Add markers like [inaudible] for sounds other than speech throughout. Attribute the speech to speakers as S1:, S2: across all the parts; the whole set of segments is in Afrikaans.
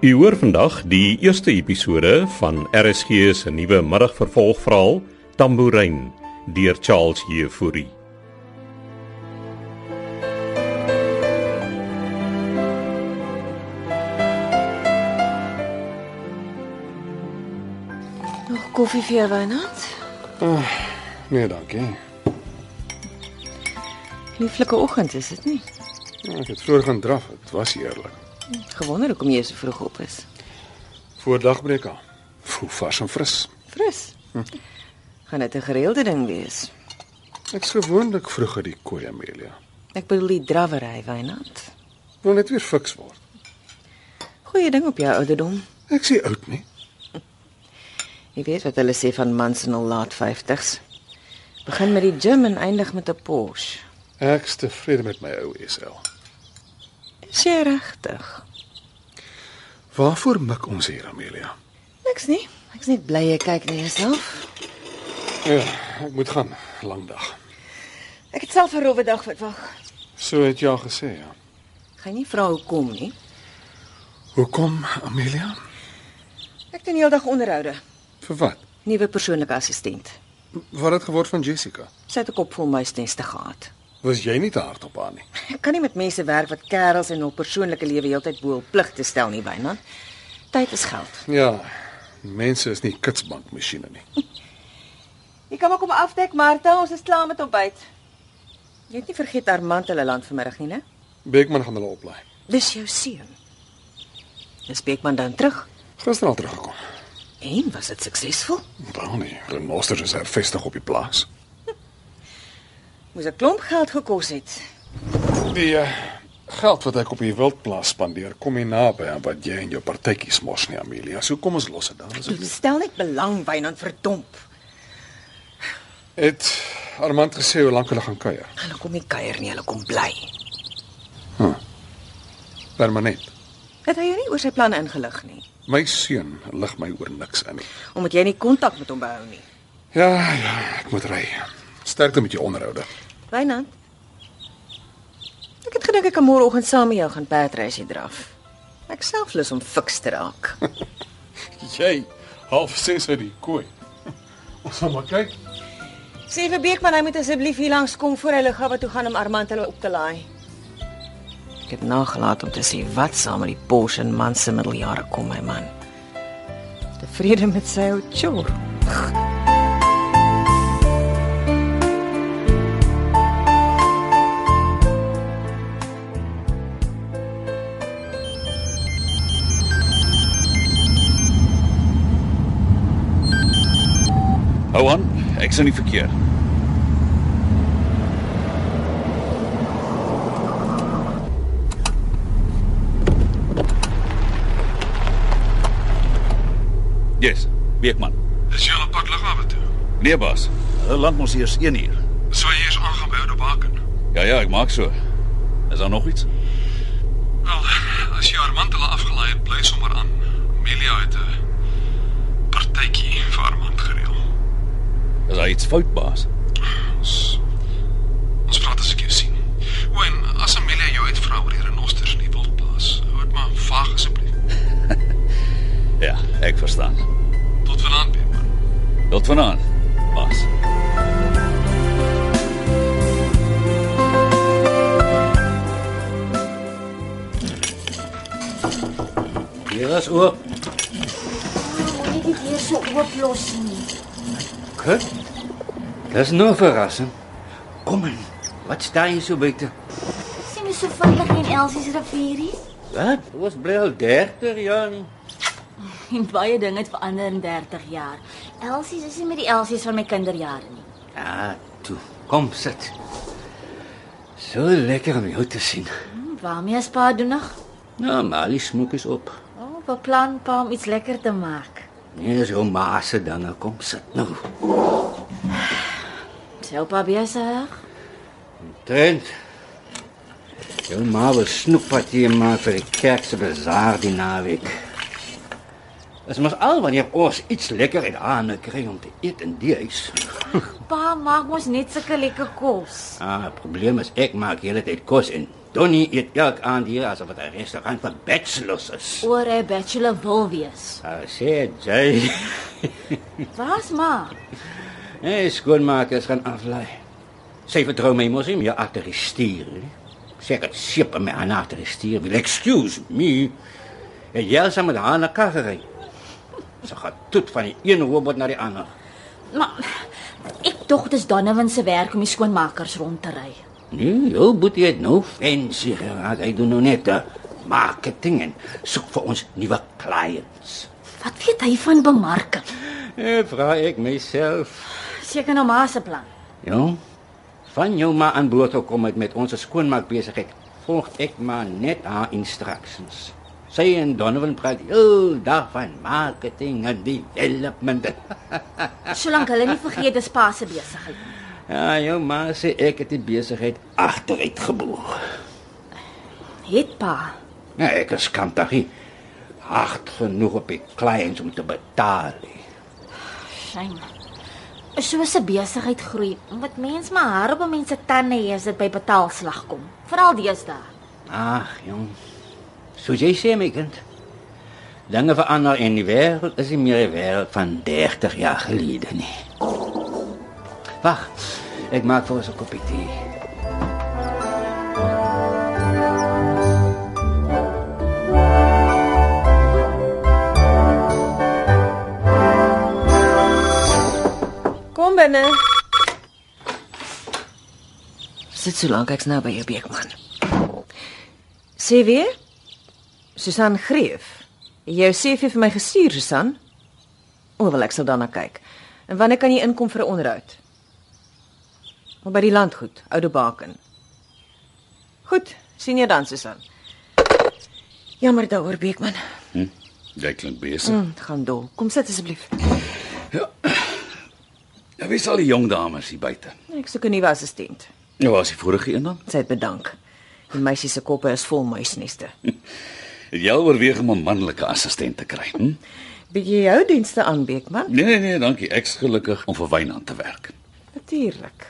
S1: U hoor vandag die eerste episode van RSG se nuwe middagvervolgverhaal Tambourine deur Charles Jefouri.
S2: Nog koffie vir jou, Wynand?
S3: Nee, dankie.
S2: Lieflike oggend is dit nie?
S3: Ja, ek het vroeër gaan draf. Dit was eerlik.
S2: Gewonder hoekom jy so vroeg op is.
S3: Voor dagbreek aan. Voel vars en fris.
S2: Fris. Gaan dit 'n gereelde ding wees?
S3: Ek's gewoonlik vroeg uit die kooi, Amelia.
S2: Ek bedoel die drawery, Wynand.
S3: Wil net weer fiks word.
S2: Goeie ding op jou ouderdom.
S3: Ek sê oud nie.
S2: Jy weet wat hulle sê van mans in hul laat 50s. Begin met die gym en eindig met 'n Porsche.
S3: Ek's tevrede met my ou SL.
S2: Is jy regtig?
S3: Waarvoor mik ons hier, Amelia?
S2: Niks nie. Ek's net bly jy kyk na jouself.
S3: Ja, ek moet gaan. Lang dag.
S2: Ek het self 'n rowwe dag verwag.
S3: So het jy al gesê, ja.
S2: Gaan nie vra hoekom nie.
S3: Hoekom, Amelia?
S2: Ek doen heeldag onderhoude.
S3: Vir wat?
S2: Nuwe persoonlike assistent.
S3: Wat het geword van Jessica?
S2: Sy het 'n kop vol muisneste gehad.
S3: Was jy nie te hard op haar nie?
S2: Ek kan nie met mense werk wat kerels en hul persoonlike lewe heeltyd bo hul plig te stel nie, Wynand. Tyd is geld.
S3: Ja. Mense is nie kitsbankmasjiene nie.
S2: Jy kan maar kom afdek, Martha, ons is klaar met ontbyt. Jy het nie vergeet Armand hulle land vanmiddag nie, né?
S3: Beekman gaan hulle oplaai.
S2: Dis jou seun. Dis Beekman dan terug.
S3: Gister al teruggekom.
S2: En was dit suksesvol?
S3: Wel nee, renosters is hervestig op die plaas.
S2: Moes 'n klomp geld gekos het.
S3: Die uh, geld wat ek op die wildplaas spandeer, kom nie naby aan wat jy en jou partytjies mors nie, Amelia. So kom ons los dit dan asseblief.
S2: Stel net belang, Wynand, verdomp.
S3: Het Armand gesê hoe lank hulle gaan kuier?
S2: Hulle kom nie kuier nie, hulle kom bly.
S3: Permanent.
S2: Het hy jou nie oor sy planne ingelig nie,
S3: My seun lig my oor niks in nie.
S2: omdat jy nie kontak met hom behou nie.
S3: Ja, ja, ek moet ry. Sterkte met jou onderhoude.
S2: Wynand. Ek het gedink ek kan môreoggend saam met jou gaan perdry as jy draf. Ek self lus om fiks te raak.
S3: Jy half 6 uit die kooi. [laughs] Ons gaan maar kyk.
S2: Sê vir Beekman hy moet asseblief hier langs kom voor hy Lugaba toe gaan om Armand hulle op te laai. Ek het nagelaat om te sê wat saam met die Porsche en man se middeljare kom my man. Tevrede met sy ou chore.
S4: Hou aan, ek sien nie verkeer. Yes, Beekman.
S5: Dis julle pad liggawe toe.
S4: Nee, baas. Hulle land mos eers 1 uur.
S5: So jy is aangaan by Oude Baken.
S4: Ja ja, ek maak so. Is daar nog iets?
S5: Wel, as jy Armand hulle afgelaai het, bly sommer aan. Amelia het 'n partytjie vir Armand gereël.
S4: Is daar iets fout, baas?
S5: Ons ons praat as ek jou sien. O, en as Amelia jou uitvra oor die renosters in die wildplaas, hou dit maar vaag asseblief.
S4: Ja, ek verstaan.
S5: Tot vanaand, Beekman.
S4: Tot vanaand, baas.
S6: Hier is oop.
S7: Moenie die deur so oop los nie.
S6: Goed. Dis nou 'n verrassing. Kom in. Wat staan jy so buite?
S7: Sien jy so vinnig in Elsie se rivierie?
S6: Wat? Ons bly al 30 jaar nie.
S7: [laughs] En baie dinge het verander in 30 jaar. Elsie is nie meer die Elsie van my kinderjare nie.
S6: Ah, toe. Kom sit. So lekker om jou te sien.
S7: Hm, waarmee is pa doen nog?
S6: Nou, maar die smoek is op.
S7: O, beplan pa om iets lekker te maak.
S6: Nee, is jou ma se dinge. Kom sit nou.
S7: Sou pa besig?
S6: Trent. Jou ma wil snoeppartye maak vir die kerk se bazaar die naweek. Dit mos al wanneer ons iets lekker uit hande kry om te eet in die huis.
S7: Pa maak mos net sulke lekker kos.
S6: Ah, het probleem is ek maak hele tyd kos en Donnie eet elk aand hier asof dit 'n restaurant vir bachelors is.
S7: Oor 'n bachelor wil [laughs] wees.
S6: Ah, sê [laughs] jy.
S7: Waar's ma?
S6: Nee, skoonmakers gaan aflei. Sy vertrou my mos nie meer agter die stuur nie. Sê ek sip my aan agter die stuur. Well, excuse me. En jy sal met haar na kar ry. Sy gaan tot van die een robot na die ander.
S7: Maar ek dog dit is Donovan se werk om die skoonmakers rond te ry.
S6: Nee, jou boetie het nou fancy geraak. Hy doen nou net eh, marketing en soek vir ons nuwe clients.
S7: Wat weet hy van bemarking?
S6: Ja, vra ek myself.
S7: Seker nou ma se plan.
S6: Jong, van jou ma aan boord gekom het met ons skoonmaakbesigheid, volg ek maar net haar instructions. Sy en Donovan praat heel dag van marketing en development.
S7: Solank hulle nie vergeet dis pa se besigheid. nie.
S6: Ja, jou ma sê ek het die besigheid agteruit geboog.
S7: Het pa.
S6: Ja, ek is kantagie. Hard genoeg op die clients om te betaal. nie.
S7: Shame. So is 'n besigheid groei. Wat mens maar haar op 'n mens se tande hê as dit by betaalslag kom. Veral deesdae.
S6: Ag, jong. Soos jy sê, my kind. Dinge verander en die wêreld is nie meer die wêreld van 30 jaar gelede nie. Wag. Ek maak vir ons 'n koppie tee.
S2: Kom binne. Sit so lank ek's nou by jou Beekman. Sê weer? Susan Greef. Jy sê jy vir my gestuur, Susan? O, wel ek sal daarna kyk. En wanneer kan jy inkom vir 'n onderhoud? Maar by die landgoed, Oude Baken. Goed, sien jou dan, Susan. Jammer daaroor, Beekman.
S4: Jy klink besig.
S2: Mm, gaan dol. Kom sit asseblief.
S4: Ja, wie is al die jong dames hier buite?
S2: Ek soek 'n nuwe assistent.
S4: Ja, was die vorige een dan?
S2: Sy het bedank. Die meisie se koppe is vol muisneste.
S4: Het jy al oorweeg om 'n manlike assistent te kry? Hm?
S2: Bied jy jou dienste aan, Beekman?
S4: Nee, nee, nee, dankie. Ek's gelukkig om vir Wynand te werk.
S2: Natuurlik.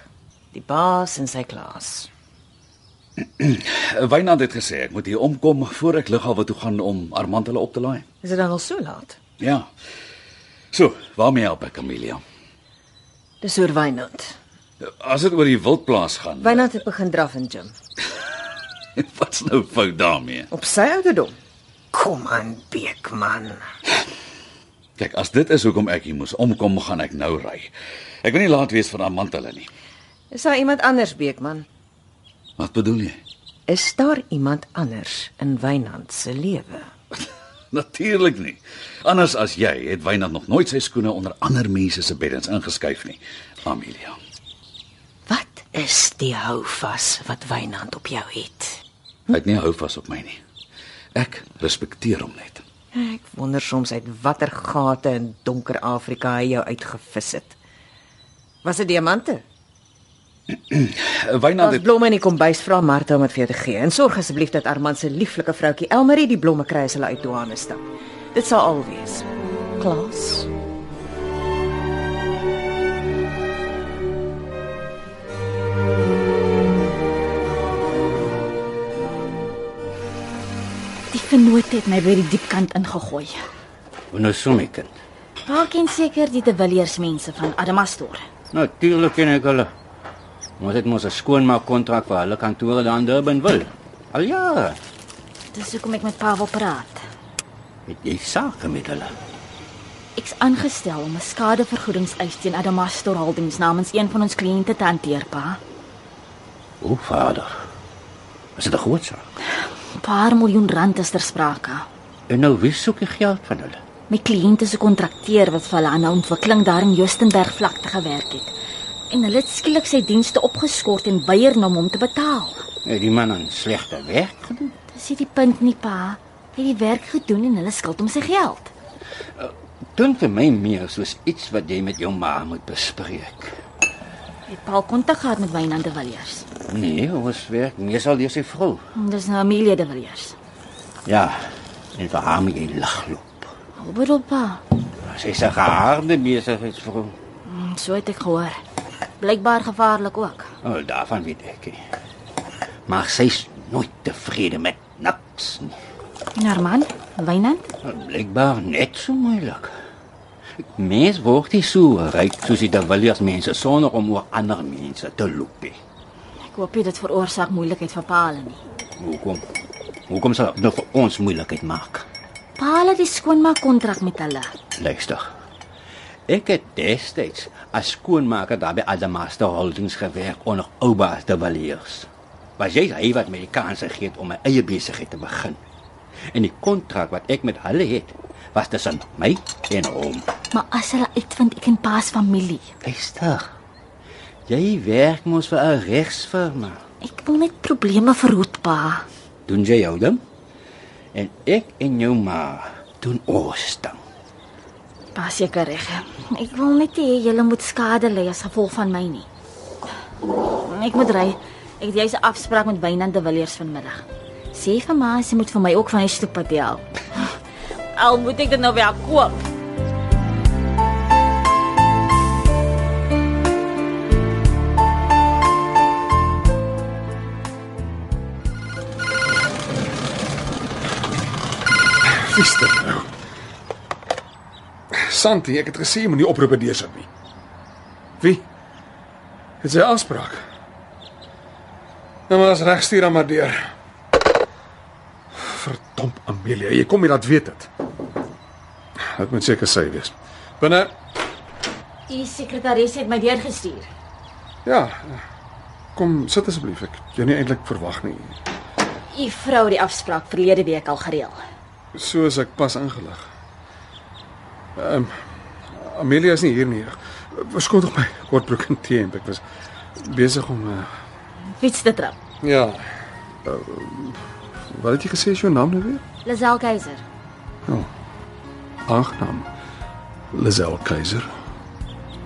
S2: Die baas en sy klas.
S4: Eh, Wynand het gesê ek moet hier omkom voor ek lughawe toe gaan om Armand hulle op te laai.
S2: Is dit dan al so laat?
S4: Ja. So, waarmee help ek Amelia?
S2: Dis oor Wynand.
S4: As dit oor die wildplaas gaan.
S2: Wynand het begin draf in gym.
S4: [laughs] Wat's nou fout daarmee?
S2: Op sy ouderdom. Kom aan, Beekman.
S4: Kyk, as dit is hoekom ek hier moes omkom, gaan ek nou ry. Ek wil nie laat wees van Armand hulle nie.
S2: Is daar iemand anders, Beekman?
S4: Wat bedoel jy?
S2: Is daar iemand anders in Wynand se lewe?
S4: Natuurlik nie. Anders as jy het Wynand nog nooit sy skoene onder ander mense se beddens ingeskuif nie, Amelia.
S2: Wat is die houvas wat Wynand op jou het?
S4: Hy het nie hou vas op my nie. Ek respekteer hom net.
S2: Ek wonder soms uit watter gate in donker Afrika hy jou uitgevis het. Was dit diamante?
S4: Wynand
S2: Daar's
S4: het
S2: blomme in die kombuis vra Martha om dit vir jou te gee. En sorg asseblief dat Armand se lieflike vroutjie Elmarie die blomme kry as hulle uit douane stap. Dit sal al wees. Klaas.
S7: Die vennoot het my by die diepkant ingegooi.
S6: Hoe nou so my kind?
S7: Pa ken seker die De Villiers mense van Adamastor.
S6: Natuurlik ken ek hulle. Ons het mos 'n skoonmaak kontrak vir hulle kantore daar in Durban wil. Al ja,
S7: Dis hoekom ek met pa wil praat.
S6: het jy sake met hulle?
S7: Ek's aangestel om 'n skadevergoedingseis teen Adamastor Holdings namens een van ons kliënte te hanteer, pa.
S6: O, vader. Is dit 'n groot saak?
S7: 'n Paar miljoen rand is ter sprake.
S6: En nou wie soek die geld van hulle?
S7: My kliënte se kontrakteur wat vir hulle aan 'n ontwikkeling daar in Justenberg vlakte gewerk het. En hulle het skielik sy dienste opgeskort en weier om hom te betaal.
S6: Het die man 'n slegte werk gedoen?
S7: Dis nie die punt nie, pa. Hy het die werk gedoen en hulle skuld hom sy geld.
S6: Klink vir my meer soos iets wat jy met jou ma moet bespreek.
S7: Het Paul kontak gehad met Wynand de Villiers.
S6: Nee, ons werk meestal deur sy vrou.
S7: Dis nou Amelia de Villiers.
S6: Ja, en vir haar moet jy lagloop.
S7: Hoe bedoel pa?
S6: Sy's 'n geharde besigheidsvrou.
S7: Hm, So het ek gehoor. Blykbaar gevaarlik ook.
S6: Oh, daarvan weet ek. nie. Maar sy's nooit tevrede met niks nie.
S7: En Armand, Wynand,
S6: Blykbaar net so moeilik. Mens word nie so ryk soos die Davilliers mense sonder om oor ander mense te loop. nie.
S7: ek hoop nie dit veroorsaak moeilikheid vir Paal nie.
S6: Hoekom? Hoekom sal dit nou vir ons moeilikheid maak?
S7: Paal het die skoonmaak kontrak met hulle.
S6: Luister. Ek het destyds as skoonmaker daar by Adamaster Holdings gewerk onder Oubaas de Villiers. Was jy hy wat Amerikaanse gee om my eie besigheid te begin. En die kontrak wat ek met hulle het, was tussen my en hom.
S7: Maar as hulle uitvind ek en Pa se familie,
S6: Luister. Jy werk mos vir 'n regsfirma.
S7: ek wil net probleme verhoed, Pa.
S6: Doen jy jou dan? En ek en jou ma doen ons dan.
S7: Pa seker reg. hè. Ek wil net hê julle moet skade ly as gevolg van my nie. Ek moet ry. Ek het jous 'n afspraak met Wynand de Villiers vanmiddag. Sê vir ma sy moet vir my ook van die stoep af help. Al moet ek dit nou weer koop.
S3: Dis dit nou. Santi, ek het gesê jy moenie oproepe deursit nie. Wie? Het sy aanspraak? Nou maar as reg stuur hom maar deur. Verdomp Amelia, jy kom nie dat weet dit. Dit moet seker sy wees. Binne.
S7: U sekretaris het my deurgestuur.
S3: Ja. Kom sit asseblief. Ek het jou nie eintlik verwag nie.
S7: U vrou het die afspraak verlede week al gereël.
S3: Soos ek pas ingelig. Ehm um, Amelia is nie hier nie. Verskoon tog my kortbroek en teent. Ek was besig om uh,
S7: Fiets te trap.
S3: ja. Uh, wat het jy gesê is jou naam nou weer? Ja.
S7: Lazel Keiser.
S3: Aangenaam. Lazel Keiser.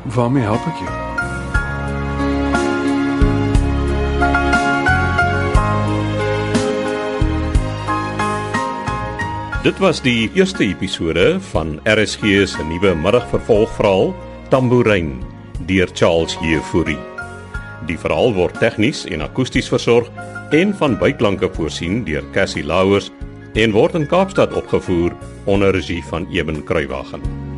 S3: Waarmee help ek jou?
S1: Dit was die eerste episode van RSG se nuwe middagvervolgverhaal Tambourine deur Charles Jefouri. Die verhaal word tegnies en akoesties versorg en van byklanke voorsien deur Cassie Lauers en word in Kaapstad opgevoer onder regie van Eben Kruiwagen.